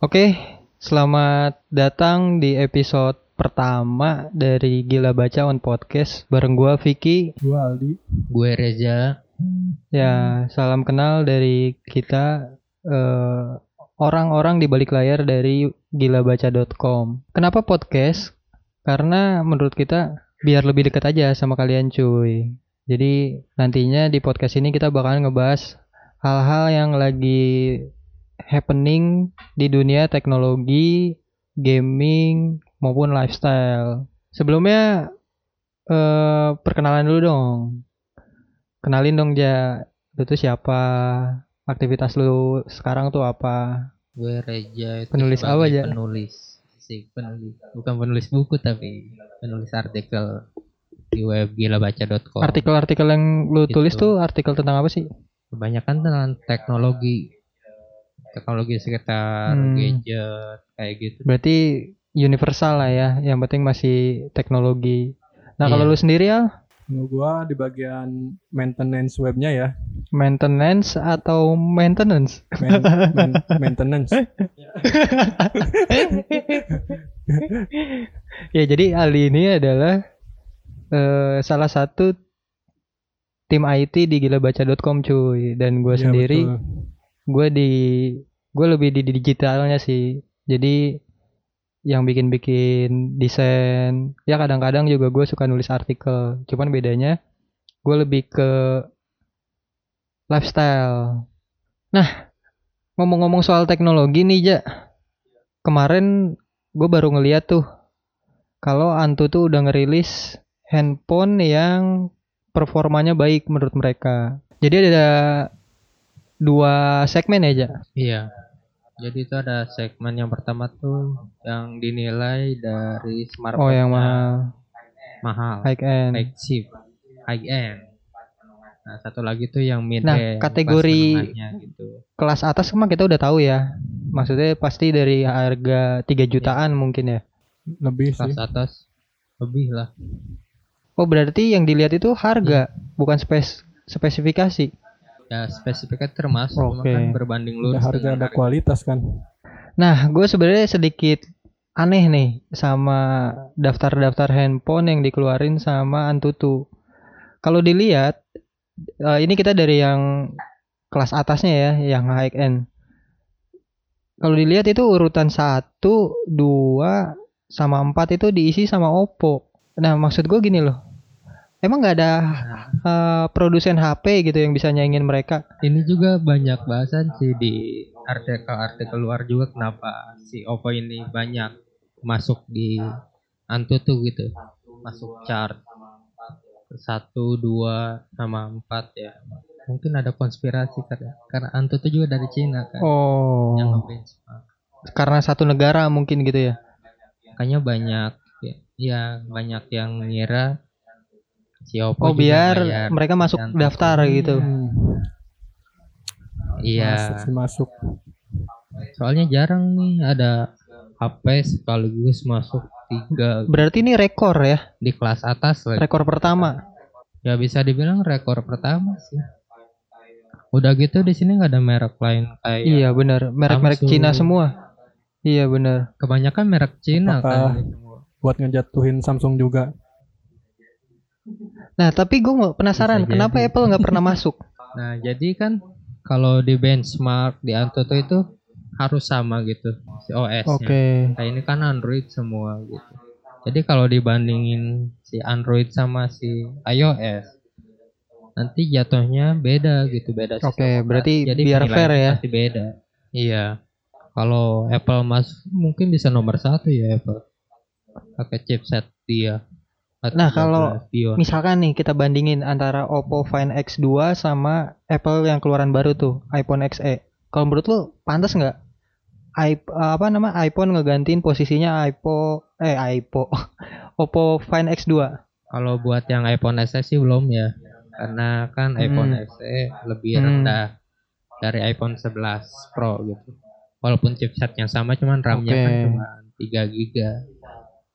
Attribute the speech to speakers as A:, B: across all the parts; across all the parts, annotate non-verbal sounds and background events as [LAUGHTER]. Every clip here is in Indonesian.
A: Oke, selamat datang di episode pertama dari Gila Baca on Podcast bareng gua Vicky.
B: Gue Aldi.
C: Gue Reza.
A: Ya, salam kenal dari kita eh, orang-orang di balik layar dari gilabaca.com. Kenapa podcast? Karena menurut kita biar lebih dekat aja sama kalian cuy. Jadi nantinya di podcast ini kita bakalan ngebahas hal-hal yang lagi happening di dunia teknologi, gaming, maupun lifestyle. Sebelumnya eh, perkenalan dulu dong. Kenalin dong Ja, lu tuh siapa? Aktivitas lu sekarang tuh apa?
C: Gue Reja. itu
A: Penulis apa,
C: sebagai
A: Ja?
C: Penulis. Si penulis. Bukan penulis buku tapi penulis artikel di web gilabaca.com.
A: Artikel-artikel yang lu
C: Gitu.
A: tulis tuh artikel tentang apa sih?
C: kebanyakan tentang teknologi. Teknologi sekitar
A: Hmm.
C: gadget kayak gitu.
A: Berarti universal lah ya, yang penting masih teknologi. Nah, kalau
C: Iya.
A: lu sendiri ya,
B: Nah, gue di bagian maintenance webnya ya.
A: maintenance atau maintenance?
B: Man- man- maintenance.
A: Ya, jadi Ali ini adalah eh, salah satu tim IT di gilabaca.com cuy dan gue
B: Iya,
A: sendiri
B: betul.
A: gue di gue lebih di di digitalnya sih jadi yang bikin-bikin desain ya kadang-kadang juga gue suka nulis artikel cuman bedanya gue lebih ke lifestyle nah ngomong-ngomong soal teknologi nih ja kemarin gue baru ngeliat tuh kalau Antu tuh udah ngerilis handphone yang performanya baik menurut mereka jadi ada dua segmen ya ja
C: Iya. Jadi itu ada segmen yang pertama tuh yang dinilai dari smartphone
A: Oh yang mahal,
C: mahal.
A: high end.
C: flagship high end nah satu lagi tuh yang mid
A: Nah,
C: end
A: kategori-
C: gitu
A: Kelas atas mah kita udah tahu ya. Maksudnya pasti dari harga 3 jutaan mungkin ya.
B: Lebih sih.
C: kelas atas lebih lah
A: Oh berarti yang dilihat itu harga, bukan spes spesifikasi.
C: ya spesifiknya termasuk cuma
A: Oke.
C: kan berbanding
B: Ada
C: lurus
B: harga
C: dengan
B: ada kualitas kan.
A: Nah, gue sebenarnya sedikit aneh nih sama daftar-daftar handphone yang dikeluarin sama Antutu. Kalau dilihat, eh, ini kita dari yang kelas atasnya ya, yang high end. Kalau dilihat itu urutan 1, 2, sama 4 itu diisi sama Oppo. Nah, maksud gue gini loh. Emang nggak ada eh, produsen HP gitu yang bisa nyaingin mereka?
C: ini juga banyak bahasan sih di artikel-artikel luar juga kenapa si Oppo ini banyak masuk di Antutu gitu masuk chart satu dua sama empat ya mungkin ada konspirasi karena karena Antutu juga dari Cina kan
A: Oh,
C: yang ngebenchmark
A: karena satu negara mungkin gitu ya.
C: makanya banyak ya, ya, banyak yang ngira si Oppo
A: Oh,
C: juga
A: biar
C: bayar.
A: mereka masuk
C: Yang
A: daftar gitu.
C: iya
B: Hmm. Masuk sih masuk.
C: soalnya jarang nih ada HP sekaligus masuk tiga
A: Berarti ini rekor ya,
C: di kelas atas lagi.
A: rekor pertama.
C: ya bisa dibilang rekor pertama sih udah gitu di sini nggak ada merek lain kayak
A: Iya benar, merek-merek
C: Samsung.
A: Cina semua. Iya benar.
C: kebanyakan merek Cina kan
B: Apakah-
C: ini semua.
B: Buat ngejatuhin Samsung juga.
A: Nah tapi gue penasaran,
C: Bisa
A: kenapa
C: jadi.
A: Apple nggak [LAUGHS] pernah masuk?
C: nah jadi kan kalau di benchmark di Antutu itu harus sama gitu si OS -nya.
A: Oke.
C: Nah, ini kan Android semua gitu. Jadi kalau dibandingin si Android sama si iOS nanti jatuhnya beda gitu, beda sistem
A: Oke,
C: operasi.
A: berarti
C: Jadi
A: biar
C: penilaian
A: fair ya.
C: Pasti beda. Iya. Kalau Apple Mas mungkin bisa nomor satu ya Apple. Pakai chipset dia.
A: Nah, kalau
C: Bion.
A: Misalkan nih kita bandingin antara Oppo Find X2 sama Apple yang keluaran baru tuh, iPhone XE. Kalau menurut lu pantas nggak? I- apa nama iPhone ngegantiin posisinya iPhone eh iPhone [LAUGHS] Oppo Find X2.
C: Kalau buat yang iPhone SE sih belum ya. Karena kan iPhone
A: Hmm.
C: SE lebih
A: Hmm.
C: rendah dari iPhone 11 Pro gitu. Walaupun chipsetnya sama cuman RAM-nya kan
A: Oke.
C: cuma 3 GB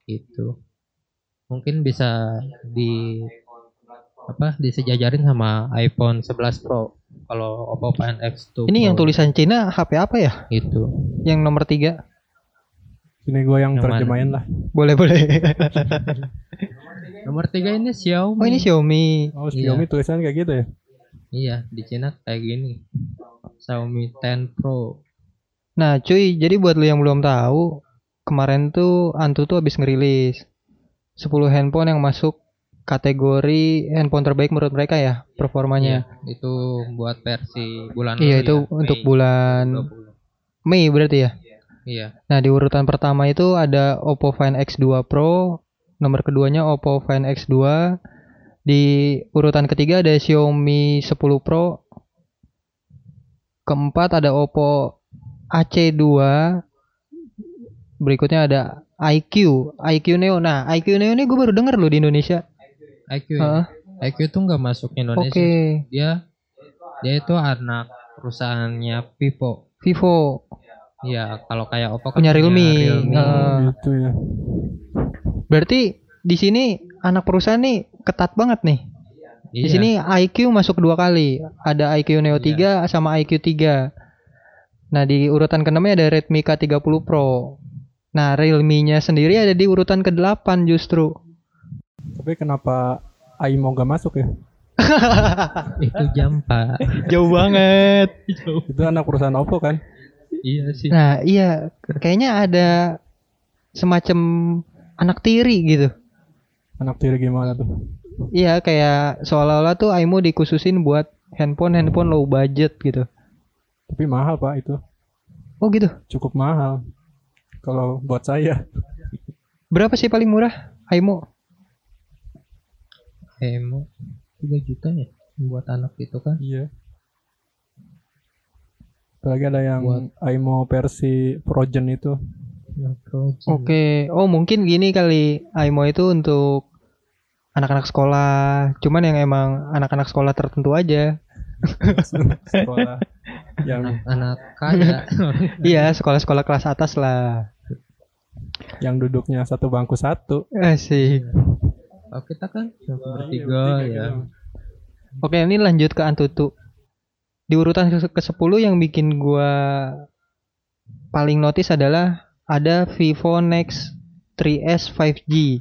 C: gitu. Mungkin bisa di apa disejajarin sama iPhone 11 Pro. kalau Oppo Find X2
A: Ini yang
C: Pro
A: tulisan Cina HP apa ya?
C: itu
A: Yang nomor tiga?
B: Sini gue yang
C: Yang mana?
B: terjemahin lah.
A: Boleh boleh.
C: nomor tiga ini Xiaomi
A: oh ini Xiaomi.
B: Oh,
C: Iya.
B: Xiaomi tulisan kayak gitu ya.
C: iya di Cina kayak gini Xiaomi 10 Pro
A: Nah cuy, jadi buat lu yang belum tahu, kemarin tuh Antu tuh habis ngerilis 10 handphone yang masuk kategori handphone terbaik menurut mereka ya performanya.
C: Iya, itu buat versi bulan
A: Iya
C: lalu
A: itu
C: ya,
A: untuk
C: Mei
A: bulan
C: 20.
A: Mei berarti ya.
C: iya
A: Nah, di urutan pertama itu ada Oppo Find X2 Pro, nomor keduanya Oppo Find X2. Di urutan ketiga ada Xiaomi 10 Pro. Keempat ada Oppo AC2. Berikutnya ada IQ, IQ Neo. Nah, IQ Neo ini gue baru denger loh di Indonesia.
C: IQ ya?
A: Heeh.
C: IQ tuh nggak masuk
A: Oke,
C: Indonesia dia dia itu anak perusahaannya Vivo
A: Vivo
C: ya kalau kayak Oppo kan
A: punya Realme. Heeh.
B: Gitu ya.
A: berarti di sini anak perusahaan nih ketat banget nih. Di
C: Iya,
A: sini IQ masuk dua kali. Ada IQ Neo 3 sama IQ 3. Nah, di urutan ke-6 ada Redmi K30 Pro. Nah, Realme-nya sendiri ada di urutan ke-8 justru.
B: Tapi kenapa AI mau gak masuk ya?
C: itu jam pak [LAUGHS]
A: Jauh banget.
B: Itu anak perusahaan Oppo kan?
C: iya sih
A: Nah, iya, kayaknya ada semacam anak tiri gitu.
B: Anak tiri gimana tuh?
A: Iya, kayak seolah-olah tuh AIMO dikhususin buat handphone-handphone low budget gitu.
B: Tapi mahal pak itu.
A: Oh, gitu.
B: Cukup mahal. Kalau buat saya.
A: Berapa sih paling murah AIMO?
C: Emo 3 juta ya buat anak itu kan
B: Iya. Apalagi ada yang
C: Buat-
B: AI mau versi Frozen itu.
A: Oke, oh mungkin gini kali AIMO itu untuk anak-anak sekolah, cuman yang emang anak-anak sekolah tertentu aja.
B: Sekolah. yang
C: anak
A: [LAUGHS]
C: kaya
A: Iya, sekolah-sekolah kelas atas lah.
B: yang duduknya satu bangku satu. Iya,
A: Asik.
C: kalau kita kan cuma bertiga
B: gitu
C: ya
B: kan.
A: Oke, ini lanjut ke Antutu. Di urutan ke-10 yang bikin gua paling notice adalah ada Vivo Nex 3S 5G.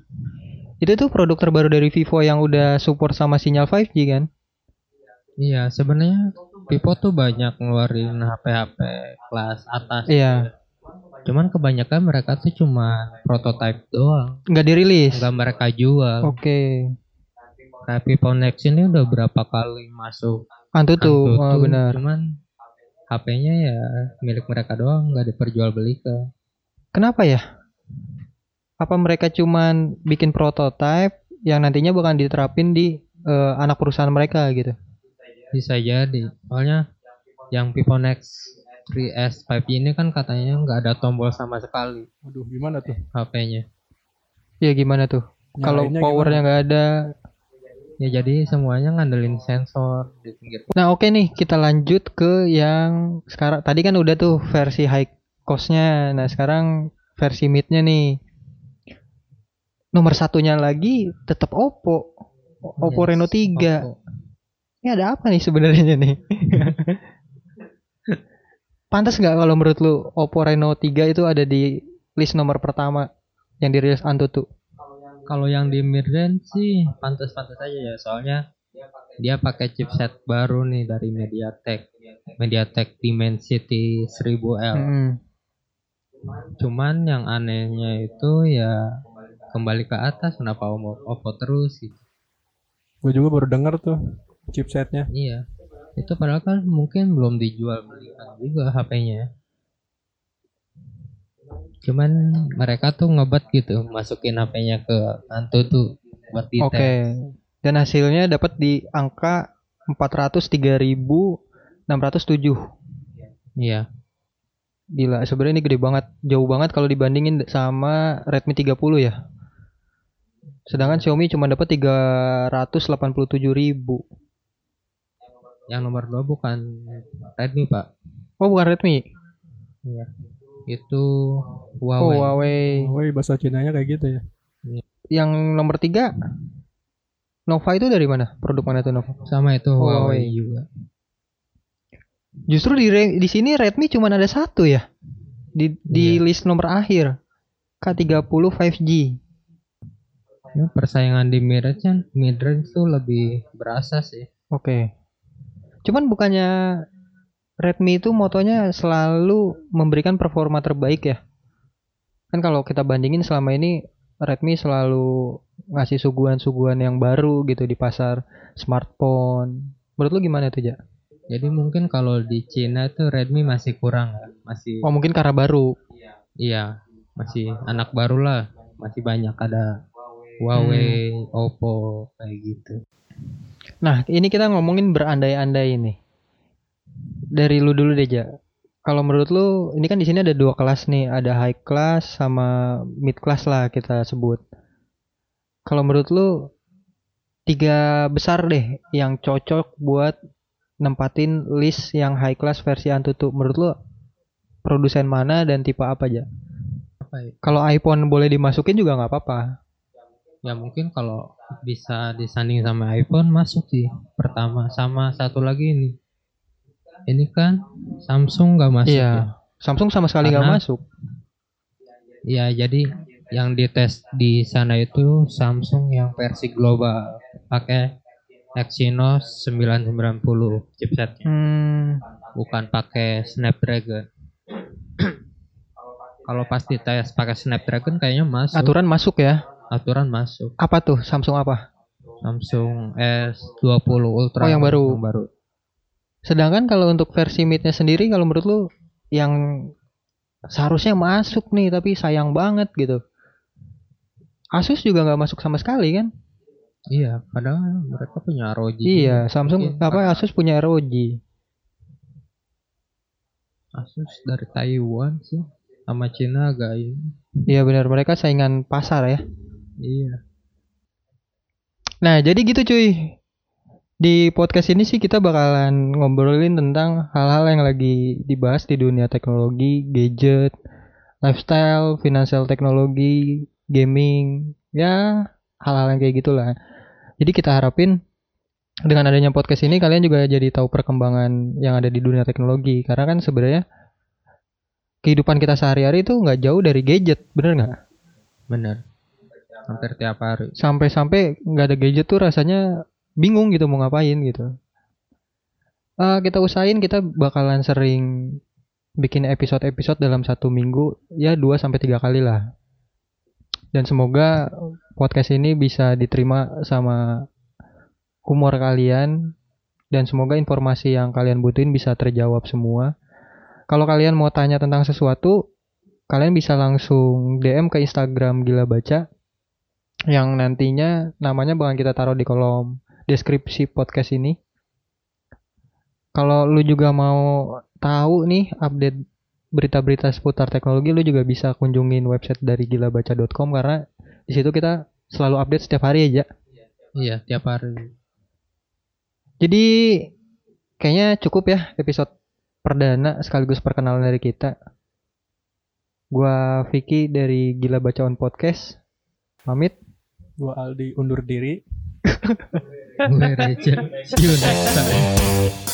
A: Itu tuh produk terbaru dari Vivo yang udah support sama sinyal 5G kan?
C: iya sebenarnya Vivo tuh banyak ngeluarin HP-HP kelas atas
A: Iya,
C: cuman kebanyakan mereka tuh cuma prototype doang
A: nggak dirilis.
C: nggak mereka jual
A: Oke.
C: kayak Vivo Next ini udah berapa kali masuk
A: Antutu,
C: Antutu,
A: oh, benar.
C: cuman HP-nya ya milik mereka doang nggak diperjualbelikan
A: Kenapa ya? Apa mereka cuman bikin prototype yang nantinya bakal diterapin di eh, anak perusahaan mereka gitu?
C: bisa jadi soalnya yang Vivo Next 3S 5G ini kan katanya nggak ada tombol sama sekali
B: Aduh gimana tuh?
C: HP-nya
A: Ya gimana tuh? Kalau
B: Nyalainnya
A: powernya nggak ada.
C: ya jadi semuanya ngandelin sensor di pinggir
A: Nah oke nih kita lanjut ke yang sekarang. Tadi kan udah tuh versi high cost-nya. Nah sekarang versi mid-nya nih. Nomor satunya lagi tetap Oppo. Oppo
C: Yes,
A: Reno 3.
C: Oppo.
A: Ini ada apa nih sebenarnya nih? Pantas nggak kalau menurut lu Oppo Reno 3 itu ada di list nomor pertama yang dirilis Antutu?
C: kalau yang di Mirren sih pantas-pantas aja ya soalnya dia pakai chipset baru nih dari MediaTek MediaTek Dimensity 1000L
A: Mm.
C: cuman yang anehnya itu ya kembali ke atas kenapa Oppo, Oppo terus gitu.
B: Gue juga baru denger tuh chipsetnya.
C: iya itu padahal kan mungkin belum dijual belikan juga HP-nya cuman mereka tuh ngebat gitu masukin HP-nya ke Antutu buat di
A: Oke. Dan hasilnya dapat di angka 403.607.
C: iya
A: Gila, sebenarnya ini gede banget, jauh banget kalau dibandingin sama Redmi 30 ya. Sedangkan Xiaomi cuma dapat 387.000.
C: yang nomor dua bukan Redmi pak
A: Oh, bukan Redmi.
C: itu
A: Oh,
C: Huawei.
A: Huawei.
B: Woi bahasa Cinanya kayak gitu ya.
A: yang nomor tiga Nova itu dari mana? Produk mana tuh Nova?
C: Sama itu
A: Huawei.
C: Huawei juga.
A: Justru di re- di sini Redmi cuma ada satu ya. Di di
C: Iya.
A: list nomor akhir. K30 5G.
C: Ya, persaingan di midrange kan midrange tuh lebih berasa sih.
A: Oke. Cuman bukannya Redmi itu motonya selalu memberikan performa terbaik ya? Kan kalau kita bandingin selama ini Redmi selalu ngasih suguhan-suguhan yang baru gitu di pasar smartphone. Menurut lu gimana tuh, Ja?
C: Jadi mungkin kalau di Cina tuh Redmi masih kurang ya, masih
A: Oh, mungkin karena baru.
C: iya, masih anak baru lah, masih banyak ada Huawei,
A: Hmm.
C: Oppo kayak gitu.
A: Nah, ini kita ngomongin berandai-andai ini. Dari lu dulu deh, Ja. Kalau menurut lu, ini kan di sini ada dua kelas nih, ada high class sama mid class lah kita sebut. Kalau menurut lu tiga besar deh yang cocok buat nempatin list yang high class versi Antutu. Menurut lu produsen mana dan tipe apa aja?
C: Apa ya?
A: Kalau iPhone boleh dimasukin juga nggak apa-apa.
C: Ya mungkin kalau bisa disanding sama iPhone masuk sih pertama sama satu lagi ini. Ini kan Samsung nggak masuk ya.
A: Iya. Samsung sama sekali nggak
C: Karena-
A: masuk.
C: Ya jadi yang dites di sana itu Samsung yang versi global pakai Exynos 990 chipsetnya,
A: Hmm,
C: bukan pakai Snapdragon. [CLEARS THROAT] Kalau pasti tes pakai Snapdragon kayaknya masuk,
A: aturan masuk ya.
C: aturan masuk.
A: Apa tuh Samsung apa?
C: Samsung S20 Ultra
A: Oh, yang baru.
C: yang baru.
A: Sedangkan kalau untuk versi mid-nya sendiri kalau menurut lu yang seharusnya masuk nih tapi sayang banget gitu. Asus juga nggak masuk sama sekali kan?
C: Iya, padahal mereka punya ROG.
A: iya, Samsung
C: Mungkin
A: apa
C: karena
A: Asus punya ROG.
C: Asus dari Taiwan sih sama Cina agak ini.
A: Iya benar, mereka saingan pasar ya.
C: Iya.
A: Nah, jadi gitu cuy. Di podcast ini sih kita bakalan ngobrolin tentang hal-hal yang lagi dibahas di dunia teknologi, gadget, lifestyle, financial teknologi, gaming, ya hal-hal yang kayak gitulah. Jadi kita harapin dengan adanya podcast ini kalian juga jadi tahu perkembangan yang ada di dunia teknologi karena kan sebenarnya kehidupan kita sehari-hari itu nggak jauh dari gadget, bener nggak?
C: Bener. Hampir tiap hari.
A: sampai-sampai nggak ada gadget tuh rasanya bingung gitu mau ngapain gitu. Eh, kita usahain kita bakalan sering bikin episode-episode dalam satu minggu ya 2 sampai tiga kali lah. Dan semoga podcast ini bisa diterima sama humor kalian dan semoga informasi yang kalian butuhin bisa terjawab semua. Kalau kalian mau tanya tentang sesuatu, kalian bisa langsung DM ke Instagram Gila Baca yang nantinya namanya bakal kita taruh di kolom deskripsi podcast ini. Kalau lu juga mau tahu nih update berita-berita seputar teknologi, lu juga bisa kunjungin website dari gilabaca.com karena di situ kita selalu update setiap hari aja.
C: Iya, tiap hari.
A: Jadi kayaknya cukup ya episode perdana sekaligus perkenalan dari kita. Gua Vicky dari Gila Baca On Podcast. Pamit.
B: Gua Aldi undur diri.
C: Gue Reja. See you next time.